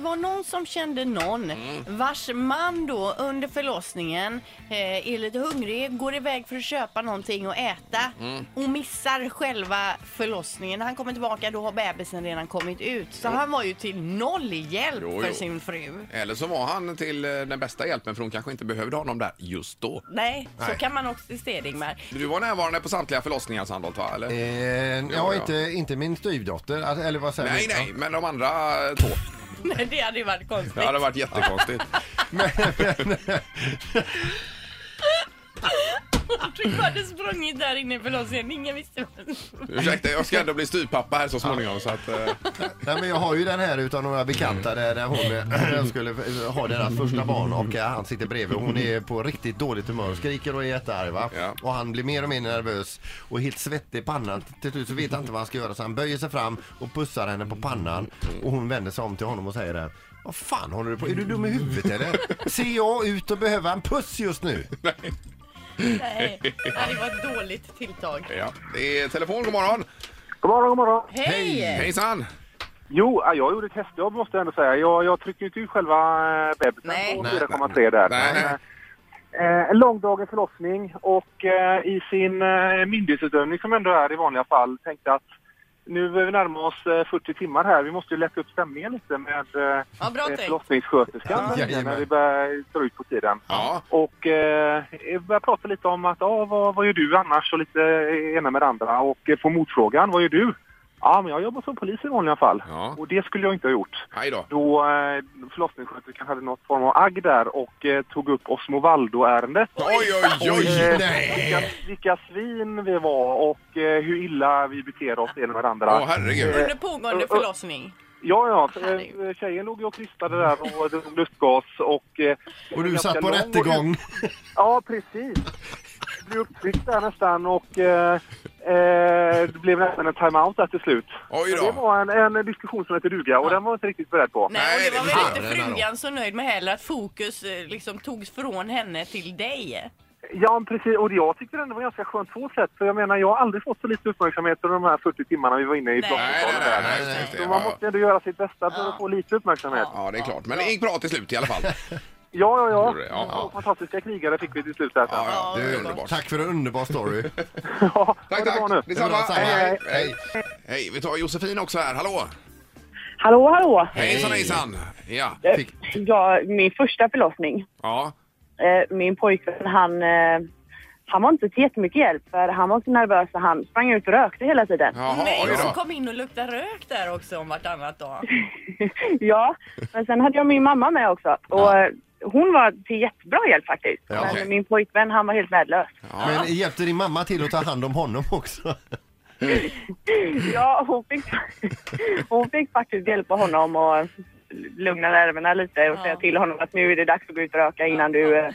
var någon som kände någon vars man då under förlossningen eh, är lite hungrig, går iväg för att köpa någonting och äta och missar själva förlossningen. När han kommer tillbaka då har bebisen redan kommit ut. Så han var ju till noll hjälp Jo, för jo. sin fru. Eller så var han till eh, den bästa hjälpen för hon kanske inte behövde honom där just då. Nej, så Nej. kan man också se det Ingmar. Du var närvarande på samtliga förlossningar Sandholt va? Eller? Eh, ja, ja. Inte, inte min styvdotter, att- eller vad säger Nej, du? nej, men de andra eh, två. Nej, det hade ju varit konstigt. Det hade varit jättekonstigt. Du hade sprungit där inne i förlossningen. Ingen visste vad Ursäkta, jag ska ändå bli styvpappa här så småningom så att... eh, Nej, men jag har ju den här utan några bekanta där, där hon eh, skulle eh, ha deras första barn och eh, han sitter bredvid. Hon är på riktigt dåligt humör, skriker och är jättearg va? Ja. Och han blir mer och mer nervös och helt svettig i pannan. Till slut så vet han inte vad han ska göra så han böjer sig fram och pussar henne på pannan och hon vänder sig om till honom och säger det. här, Vad fan håller du på Är du dum i huvudet eller? Ser jag ut att behöva en puss just nu? Nej, det var ett dåligt tilltag. Ja, det är telefon, god morgon. God morgon, god morgon. Hej! Hejsan! Jo, ja, jag gjorde ett hästjobb måste jag ändå säga. Jag, jag trycker ju inte ut själva eh, bebisen Nej. på Nej, 4,3 där. nej, nej. Men, eh, En långdagen förlossning och eh, i sin eh, myndighetsutövning som ändå är i vanliga fall tänkte att nu börjar vi närma oss eh, 40 timmar här. Vi måste ju lätta upp stämningen lite med eh, Ja, bra eh, tänkt. förlossningssköterskan Ja, när jajamän. vi börjar dra ut på tiden. Ja, Och eh, jag började prata lite om att ah, vad, vad gör du annars och lite eh, ena med det andra. Och eh, på motfrågan, vad gör du? Ja, men jag jobbar som polis i vanliga fall. Ja. Och det skulle jag inte ha gjort. hej då. Då eh, förlossningssköterskan hade något form av agg där och eh, tog upp Osmo Valdo-ärendet. Oj, oj, Och, oj! eh, vilka, vilka svin vi var och eh, hur illa vi beter oss ena med det andra. Åh herregud. Under pågående förlossning. Ja, ja. Herregud. eh, Tjejen låg ju och krystade där och drog lustgas. Och, eh, Och du ganska satt på lång och rättegång. Ja, precis. Det blev upptryckt där nästan och eh, eh, det blev nästan en timeout där till slut. Oj Men Det då. var en, en diskussion som hette duga och den var jag inte riktigt beredd på. Nej, och det var väl Nej, inte det var- frugan så nöjd med heller att fokus eh, liksom togs från henne till dig. Ja, precis. Och jag tyckte det var ganska skönt på ett sätt. För jag menar, jag har aldrig fått så lite uppmärksamhet under de här 40 timmarna vi var inne i Nej. Nej, nej, förlossningssalen nej, där. nej, nej, just det. Så man Ja, måste ja. ändå göra sitt bästa för att få lite uppmärksamhet. ja, det är klart. Men det gick bra till slut i alla fall. Ja, ja, ja. Gjorde det, ja, ja. Två Fantastiska krigare fick vi till slut där sen. Ja, ja, det är Ja, underbart. Tack för en underbar story. Ja, ha Tack, det bra nu. tack. Detsamma. Det är bra, samma. Hej, hej. Hej. Hej, vi tar Josefin också här. Hallå! Hallå, hallå! Eh, Hejsan, hejsan! Ja, Fick- Ja, min första förlossning. ja. Eh, min pojkvän, han, eh, han var inte till jättemycket hjälp för han var så nervös så han sprang ut och rökte hela tiden. Jaha, Nej, oj och så då. kom in och luktade rök där också om vartannat dag. ja, men sen hade jag min mamma med också och Ja. eh, hon var till jättebra hjälp faktiskt. Ja, men okej. min pojkvän, han var helt värdelös. Ja. Men hjälpte din mamma till att ta hand om honom också? Ja, hon fick, hon fick faktiskt hjälpa honom och lugna nerverna lite och Ja. säga till honom att nu är det dags att gå ut och röka innan du... eh,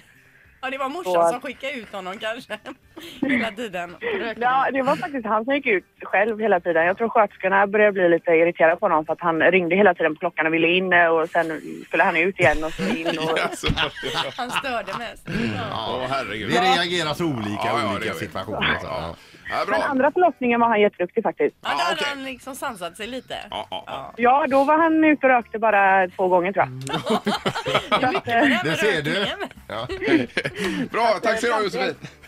Ja, det var morsan Och- som skickade ut honom kanske. Hela tiden. Rökte Ja, det var faktiskt han som gick ut själv hela tiden. Jag tror sköterskorna började bli lite irriterade på honom för att han ringde hela tiden på klockan och ville in eh, och sen skulle han ut igen och så in och... Jaså, ja. Han störde mest. Ja. Åh herregud. Vi reagerar så olika Ja, ja, i det gör olika vi. situationer. Så. Ja, ja, Men bra. andra förlossningen var han jätteduktig faktiskt. Ja, där Ja, hade okej. han liksom sansat sig lite. Ja, ja, ja. Ja, då var han ute och rökte bara två gånger tror jag. Mm. Det är mycket med här Det med ser du. rökningen. Ja. Bra, tack så du ha Josefin.